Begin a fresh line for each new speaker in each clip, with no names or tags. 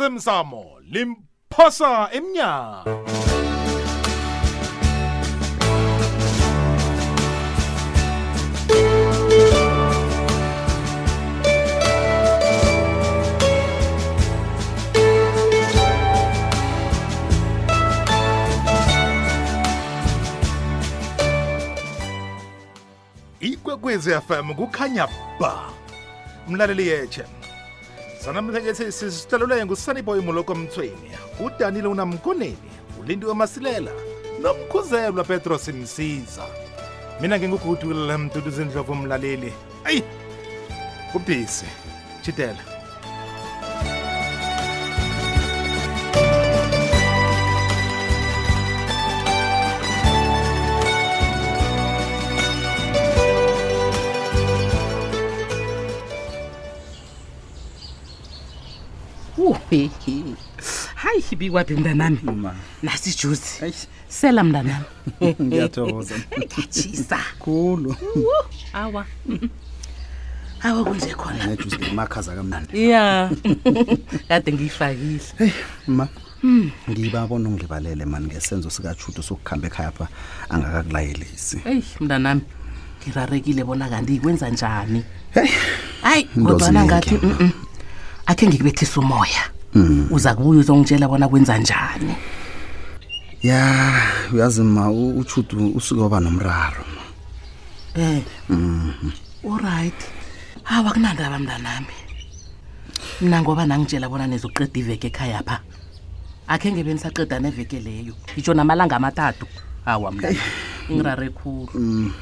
onsemsamo limphosa emnyango ikwekwezi fm kukhanya ba mlaleli yetshe sanamthekethi sisihlaluleke ngusaniboy moloko mthweni udanile unamkoneni ulindiwe masilela nomkhuzelwa petros msiza mina ngingugudule mduduzi ndlovu mlaleli ayi kubhisi chitela
Uhe. hayi bikwaphi mntanami nasi ijuzi sela mntanami
ngiyathokoza
ndatshisa
khulu
awa awa kunje khona
nejuice lemakhaza kamnandi
ya kade ngiyifakile
ma
Hmm.
ngiyibabona ungilibalele mani ngesenzo sikajudo sokukhamba ekhaya pha angakakulayelisi
eyi mntanami ngirarekile bona kanti ikwenza njani
heyi
hayi
Into
kodwana
ziningi.
ngathi mm, mm. akhe ngikubehlisa umoya uza kubuya uzongitshela bona kwenza njani
ya uyazi ma u- ujudu usuke waba nomraro ma
Eh. Mm-hmm. Alright. Hawa kunandaba mntanami. Mina ngoba nangitshela bona nizoqeda iveke ekhaya pha. Akhe ngebe nisaqeda neveke leyo. Itsho namalanga amathathu. Hawa mntanami.
Eh.
Ingirare
Mm.
khulu.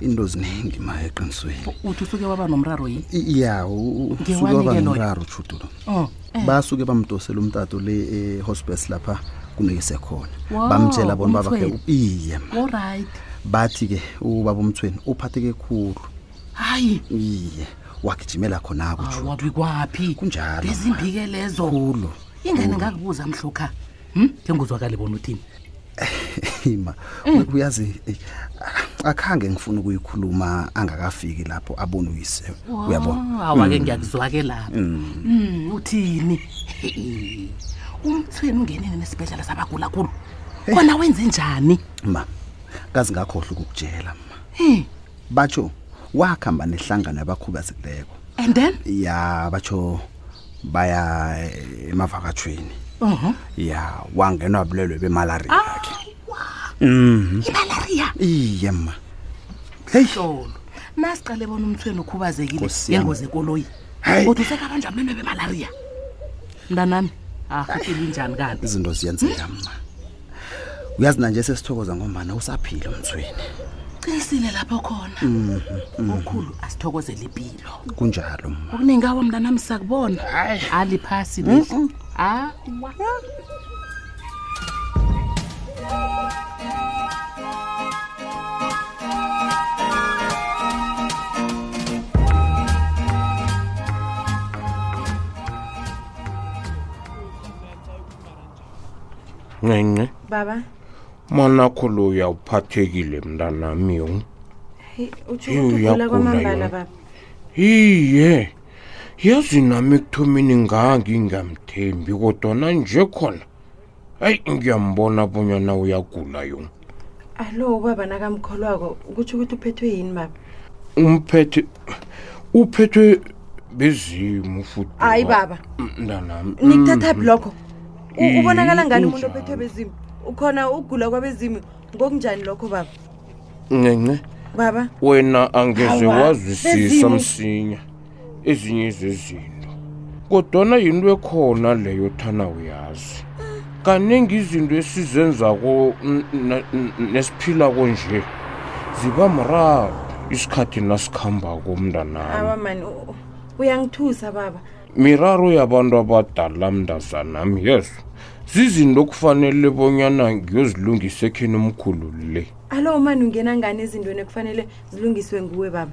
into ziningi ma eqinisweni
Uthi usuke waba nomraro yi?
I- ya u- u- usuke
Ngewanike
waba
loyo.
nomraro ujudu lo
Oh. eh,
basuke bamdosela umtato le ehospice lapha kunekise khona
Wow,
bamtshela bona babakhe
umthweni.
iye
Alright.
bathi-ke ubaba umthweni uphatheke khulu
Hayi.
iye wagijimela khonako ujudu
Awabi kwapi?
Kunjalo, ma.
Lezimbike lezo.
khulu
Ingane ngakubuza mhlokha. Hm? Ngenguzwakale bona uthini?
ma uyazi eh, akhange ngifuna ukuyikhuluma angakafiki lapho abone uyise uyabona
awake ngiyakuzwake lapho Mm, uthini Hehe. umthweni ungenile nesibhedlela sabagula kulo
Eh.
kona wenze njani
ma kazi ngakhohlwa ukukutshela ma
Eh,
batsho wakhamba nehlangano yabakhubazekileko
and then
ya batsho baya eh, emavakatshweni Uh-huh.
Mhm.
ya wangenwa bulelwe bemalaria
Ah.
yakhe
imalaria
iye ma heyi
hlolo nasiqale bona umthweni ukhubazekile
Nkosi yami.
ngengozi ekoloyi
Hayi.
kodwa usekabanjwa bulelwe bemalaria mntanami ahukile injani kanti
izinto ziyenzeka ma uyazi nanje sesithokoza ngombana usaphila umthweni
qinisile lapho khona
Mm-hmm.
ukhulu asithokozele impilo
kunjalo ma
okuningawa mntanami sakubona aliphasi lihle
Ah,
awa
ncenxe
baba
manakho loya uphathekile mntanami yo
heyi utsho
Yho,
ukuthi ugula
uyagula
kwamambala
yona.
baba
iye yazi nami ekuthomeni ngangi ngingamthembi kodwana nje khona hayi ngiyambona bonyana uyagula yo
alo ubaba nakamkholwako kutsho ukuthi uphethwe yini baba
umphethe uphethwe bezimo futhi
hayi baba
mntanami
nikuthathaphi lokho U-
Iye,
ubonakala ngani umuntu
kunjalo.
ophethwe bezimu ukhona ukugula kwabezimu ngokunjani lokho baba
ncenxe
baba
wena angeze
Awa,
wazwisisa
bezimo.
msinya ezinye zezinto kodwana yinto ekhona leyo thana uyazi kaningi izinto esizenzako n- na- n- nesiphilako nje ziba mraro isikhathi nasikhambako
awa
mntanami
mani u- u- uyangithusa baba
miraro yabantu abadala mntazanami yezo zizinto okufanele bonyana ngiyozilungisa ekheni omkhulu le
alo mani ungena ngani ezintweni ekufanele zilungiswe nguwe baba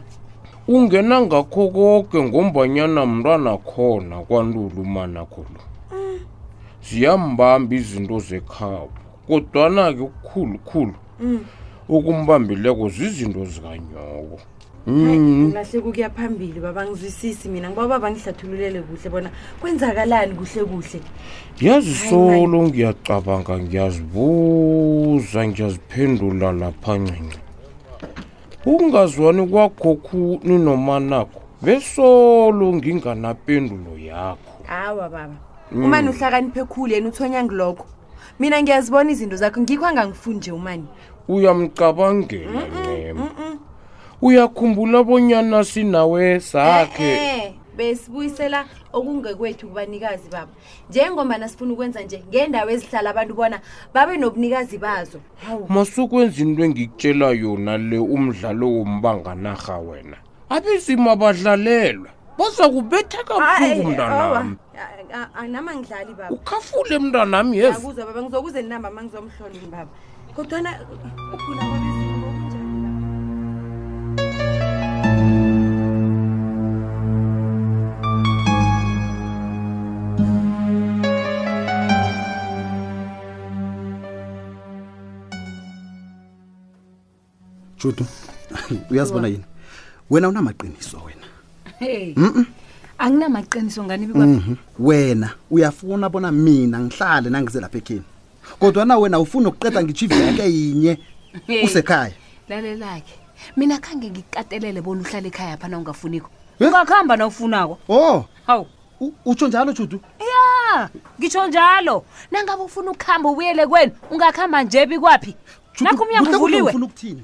ungena ngakho koke ngombanyana mntwana khona kwantulu umanakho lo ziyambamba izinto zekhabo kodwana-ke okukhulukhulu
Mm.
okumbambileko zizinto zikanyoko
ngilahleka ukuya phambili baba ngizwisisi mina ngiba baba ngihlathululele kuhle bona kwenzakalani kuhle kuhle
yazi
Hayi,
solo ngiyacabanga ngiyazibuza ngiyaziphendula lapha ncinci ungazwani kwakho khuni noma nakho besolo nginganapendulo yakho
hawa baba umani uhlakaniphe khulu yena uthonya ngilokho mina ngiyazibona izinto zakho ngikho angangifundi nje umani
uyamcabangela ncema uyakhumbula bonyana sinawe sakhe
Eh, eh, besibuyisela okungekwethu kubanikazi baba njengobana sifuna ukwenza nje ngeendawo ezihlala abantu bona babe nobunikazi bazo hawu
masukwenza into engikutshela yona le umdlalo wombanganarha wena abezima abadlalelwa baza kubetha
Ah,
kabuhlungu
eh,
mntanami
anama ngidlali baba
ukhafule mntanami yes
akuzwa baba ngizokuze ninamba ma ngizomhlola baba kodwana ukugula kwabezimu kunjani baba
judu uyazibona yini wena unamaqiniso wena
hey anginamaqiniso ngani bikwaphi
Mhm. wena uyafuna bona mina ngihlale nangize lapha ekheni kodwa na wena ufuna ukuqeda ngitsho iveke yinye
Hey.
usekhaya
lalelakhe mina khange ngikatelele bona uhlala ekhaya phana ungafuniko
Eh?
ungakuhamba nawufunako
oh
hawu
u- utsho njalo judu
ya ngitsho njalo nangabe ufuna ukuhamba ubuyele kwenu ungakuhamba nje bikwaphi
Judu,
nakho umnyango
kuhle kuhle
uvuliwe
ufuna ukuthini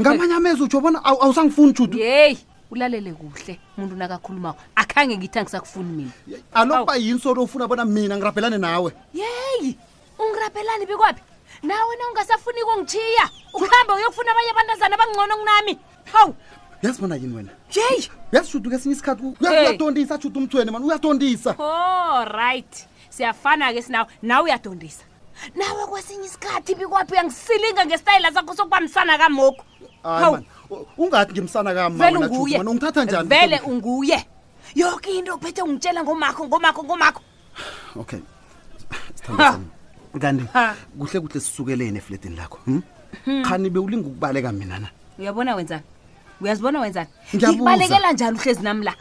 ngamanye amezwi utsho bona awu- awusangifuni judu
yeyi ulalele kuhle umuntu nakakhulumako akhange ngithi angisakufuni mina
alokuba yini solo ufuna bona mina ngirabhelane nawe
yeyi ungirabhelani bikwaphi nawe na ungasafuni ukungitshiya ukuhamba uyokufuna abanye abantazana abangcono kunami hawu
uyazibona yini wena
yeyi
uyazijudu kesinye isikhathi u- uya-
Hey.
uyatondisa judu umthweni mani uyatondisa
oh right siyafana-ke sinawe nawe uyadondisa nawe kwesinye isikhathi bikwaphi uyangisilinga ngesitayela sakho sokubambisana kamoku
Hayi
Hawu,
man, u- ungathi ngimsana kama
vele
wena
unguye
judu mani ungithatha njani
vele
Judu?
unguye yonke into uphethe ungitshela ngomakho ngomakho ngomakho
okay Sithandwa
Ha.
sami. kanti
Ha.
kuhle kuhle sisukeleni efletini lakho hmm? khani bewulinga ukubaleka mina na
uyabona wenzani uyazibona wenzani
Ngiyabuza.
ngikubalekela njani uhlezi nami la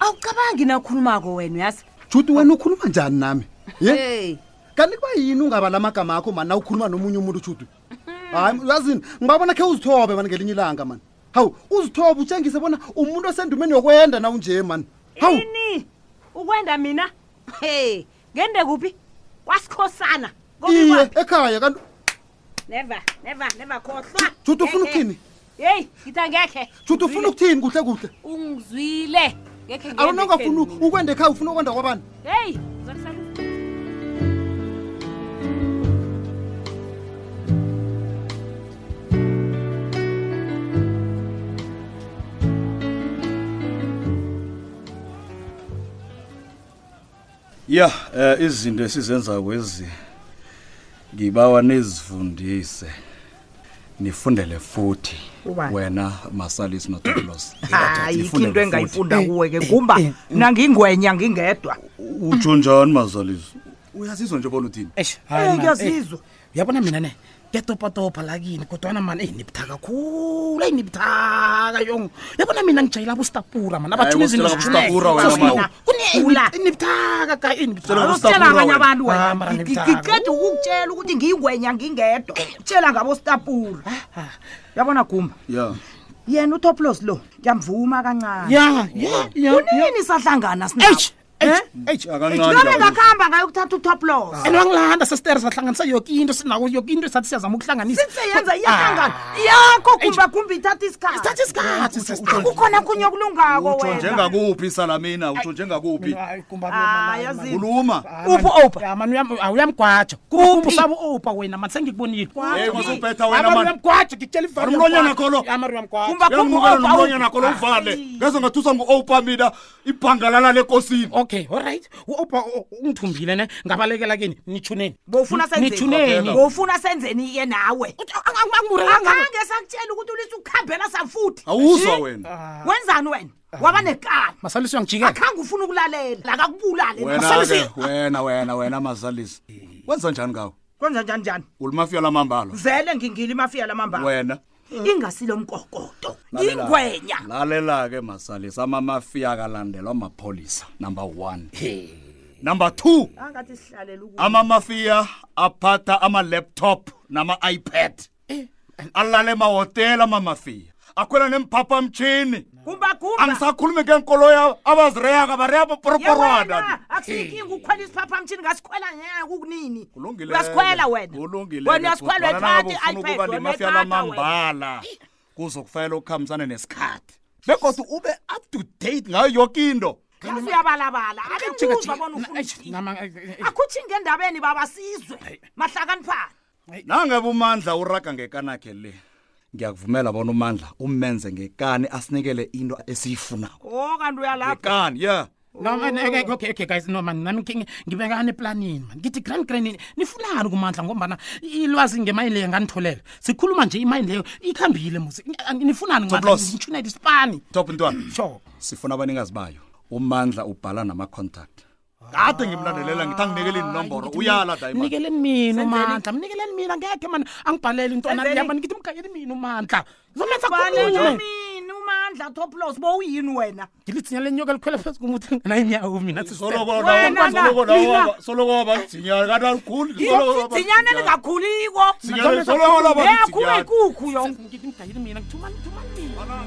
awucabangi nakhulumako wena uyazi
judu wena ukhuluma njani nami ye
hey
kanti kuba yini ungaba la magama akho mani na ukhuluma nomunye umuntu judu
Hmm.
hayi uyazini ngibabona khe uzithobe mani ngelinye ilanga mani hawu uzithobe utshengise bona umuntu osendumeni yokwenda na unje mani hawu
ini ukwenda mina hey ngende kuphi kwasikhosana
iye
kobikwaphi
ekhaya kanti
never never never khohlwa
Judu, ufuna
Ngekhe.
ukuthini?
yeyi ngithi angekhe
judu ufuna ukuthini kuhle kuhle
ungizwile ngekhe ngende
alona ungafuni
ekhenu mina.
ukwenda ekhaya ufuna ukwenda kwabani
heyi zonisala
ya eh izinto esizenza kwezi ngibawa nizifundise nifundele futhi
Ubani?
wena masalisi nodolos
hayi ikho into
Eh,
engayifunda kuwe-ke kumba mna ngingwenya ngingedwa
utsho njani masalisi uyazizwa nje bona uthini
Eh, ngiyazizwa
uyabona mina ne ngiyatopatopa lakini kodwana mani eh, eyi nibutha kakhulu eyi nibutha kayong uyabona mina ngijayela abostapura mani abathuna
Hayi,
izinto
Eh, wena ustapura wena, man.
Eh, nibutha kakay
Sele
nibutha
Ustapura
alotshela abanye
wena.
abantu
Ah, mara nibutha.
wenangiqeda ukukutshela ukuthi ngiyingwenya ngingedwa tshela ngabostapula
Ah,
yabona gumba
ya
yena utoplos lo ngiyamvuma kancane
ya ya ya
kunini Eh? sahlangana
eish eish
sinabe
eish
akancane kabuhlungu.
ngakuhamba ngayokuthatha utoplos
Ah. andwangilanda sesitere sahlanganisa yoke into sinako yoke into esathi siyazama ukuhlanganisa
sithe yenza
Ah.
iyahlangana
Ah.
yakho kumbakumba ithatha isikhathi
Sithatha isikhathi, sister.
kukhona kunye okulungako
utsho
wena
njengakuphi isalamina utsho njengakuphi
Hayi, yazi-
khuluma
Ah, Uphi u-Opa?
ah, awuyamgwaja
Kuphi?
kuphusaba u-opa wena mani sengikubonile Ah,
Hey, wasubhetha wena, man.
uyamgwaja ngikutshela
Umlonyana kholo.
ivamlonyana
uyangibukela
kumbakumba
nomlonyana kolo uvale ngeze ngathusa ngu-opa mina ibhangalala lenkosini
okay allright u-opa ungithumbile ne ngabalekela keni nitshuneni
bowufuna senzeni
nitshuneni
bowufuna senzeni-ke nawe akhange sakutshela ukuthi ulise ukuhambela samfuthi
awuzwa
Eh,
wena
wenzani wena
Ah.
waba nekani
masalisi uyangijikela
akhange ufuna ukulalela akakubulale
wena-ke
eh.
wena wena wena masalisi wenza njani ngawo
kwenza njani njani
ulimafiya lamambalo
vele ngingile imafiya lamambala
wena
ingasilo mkokoto
Lalela-
ingwenya
lalela-ke masalisa amamafiya akalandelwa mapholisa number one number two
angathi sihlalela ukuba
amamafiya aphatha ama-laptop nama-ipad alala emahotela amamafiya akhwela nemphaphamtshini
kumba kumba
angisakhulumi ngenkoloya abazireyaka bareya
yewena
poporoporwana
akusikinga ukukhwela isiphaphamtshini ngasikhwela ngekukunini
Kulungile.
ngasikhwela wena wena uyasikhwela wethatha
ukuba
i-ipad wethatha
lemafia
wena
lamambala kuzokufanele ukuhambisana nesikhathi begodwa ube up to date ngayo yoke into
yazi uyabalabala abeuzwa bona ufuna
eh,
akhuthi ngendabeni babasizwe mahlakaniphana
nangabe umandla uraga ngekanakhe le ngiyakuvumela bona umandla umenze ngekani asinikele into esiyifunako
o kanti uyalapha
ngekani ya
no
Oh,
man, okay, okay, okay guys no man nami khe ngibekane eplanini man ngithi grand granini nifunani kumandla ngombana ilwazi ngemayini leyo nganitholela sikhuluma nje imayini leyo ikhambile musi nifunani
Toplos.
ngitshunela isipani
top ntwana
sure
sifuna abanikazi bayo umandla ubhala nama-contact kade ngimlandelela ngithi anginikele inomboro uyala diamond
nikeleni mina umandla mnikeleni mina ngekhe mani angibhaleli intwana yaba ngithi mgayeli mina umandla zomenza khulume
mini umandla toplos bowuyini wena
ngilithinya lenyoka likhwela phezu komuthi nganayinyawo mina
Wena na, mina-
solokolabasolokolabazinyana kanti alikhuli
zinyane elingakhuliko
Zinyane solokolo baba
yakhula
zinyane.
ikukhu yonke
ngithi mgayeli mina ngithumani thumani mina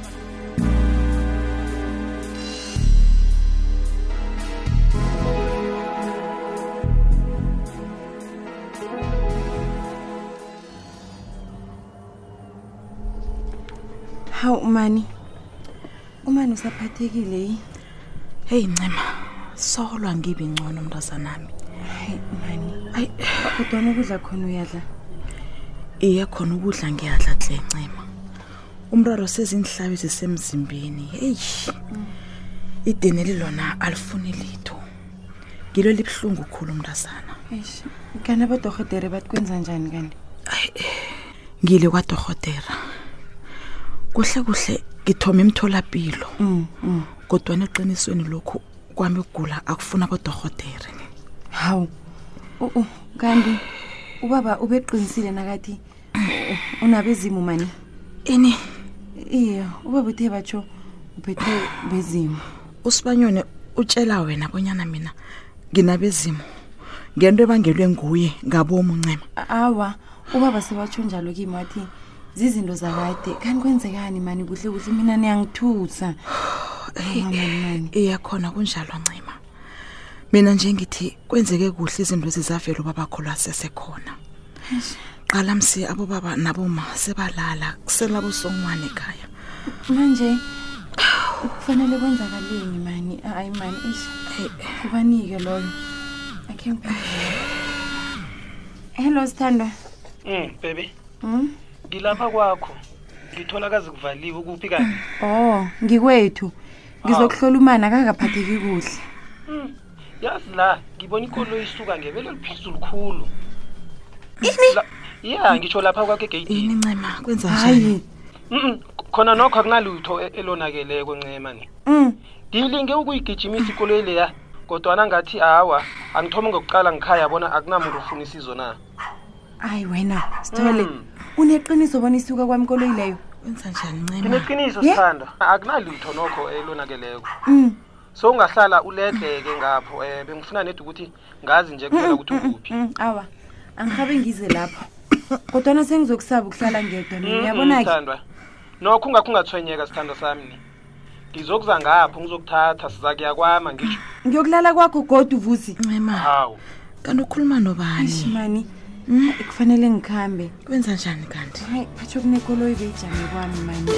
hawu umani umani usaphathekile yi
heyi ncema solwa ngibe ngcono mntazanami
hayi umani
ayi
kodwana ukudla khona uyadla
iye khona ukudla ngiyadla hle ncema umraro sezinhlabi zisemzimbeni heyi ideneli lona alifuni litho ngilo libuhlungu khulu mntazana
eish kanti abadorhodere batikwenza njani kanti
ngile kwadorhotera kuhle kuhle ngithoma imtholapilo
Mm,
kodwana eqinisweni lokhu kwami ukugula akufuna abodorhotere
hawu u u, kanti ubaba ubeqinisile nakathi u- unabezimu mani
ini
iye ubaba uthe batsho uphethwe bezimu
usibanyone utshela wena bonyana mina nginabezimo ngento ebangelwe nguye ngabomu ncema
A- awa ubaba sewatsho njalo kimi wathi zizinto zakade kanti kwenzekani mani kuhle kuhle mina niyangithusa Hawu, mani mani
iyakhona kunjalo ncema mina nje ngithi kwenzeke kuhle izinto ezizavela ubabakholwa asesekhona qala msi abobaba naboma sebalala kuselabo songwane ekhaya
manje kufanele kwenzakaleni mani hayi mani ish kubanike loyo akhe ngiphendule. hello sithandwa
Mm, bebe,
Mm?
ngilapha kwakho. Ngithola kazi kuvaliwe kuphi kani?
oh ngikwethu ngizokuhlola umani akakaphatheki kuhle
Yazi la, ngibona ikolo isuka ngebelo liphezulu khulu. Ini? Yeah, ngitsho lapha kwakho
yini
egeyidini.
ncema kwenza njani
hayi
Mm, khona nokho akunalutho e- elonakeleko ncema ni.
Mm.
Ngilinge ukuyigijimisa ikolo leya, kodwana ngathi hawa, angithome ngokuqala ngikhaya bona akunamuntu ufuna isizo na.
hayi wena sithole uneqiniso bona isuka kwami koloyi leyo
kwenza njani ncema
Ngineqiniso
Ye.
sithanda, akunalutho nokho elonakeleko.
Mm.
So ungahlala uledleke ngapho, eh bengifuna nedi ukuthi ngazi nje kuphela ukuthi ukuphi.
Mm, awa angihabe ngize lapho kodwana sengizokusaba ukuhlala ngedwa mina
Hmm,
uyabona-ke
Mm-hmm. Sithandwa. nokho ungakho ungathwenyeka sithando sami ni ngizokuza ngapho ngizokuthatha siza kuya kwama ngisho
ngiyokulala kwakho godwa uvusi
ncema
hawu
kanti ukhuluma
eish
nobani
mani kufanele Hmm, ngikhambe
kwenza njani kanti
hayi phatsho kunekoloyi beyijame kwami mani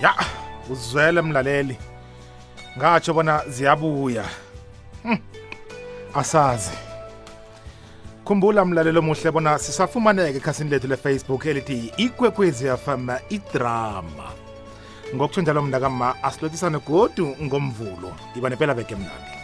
ya uzwele mlaleli ngatsho bona ziyabuya Hm, asazi khumbula mlaleli omuhle bona sisafumaneka ekhasini lethu lefacebook elithi ikwekwezi fm idrama ngokutsho njalo mntakama asilotisane godu ngomvulo iba nepela beke mnandi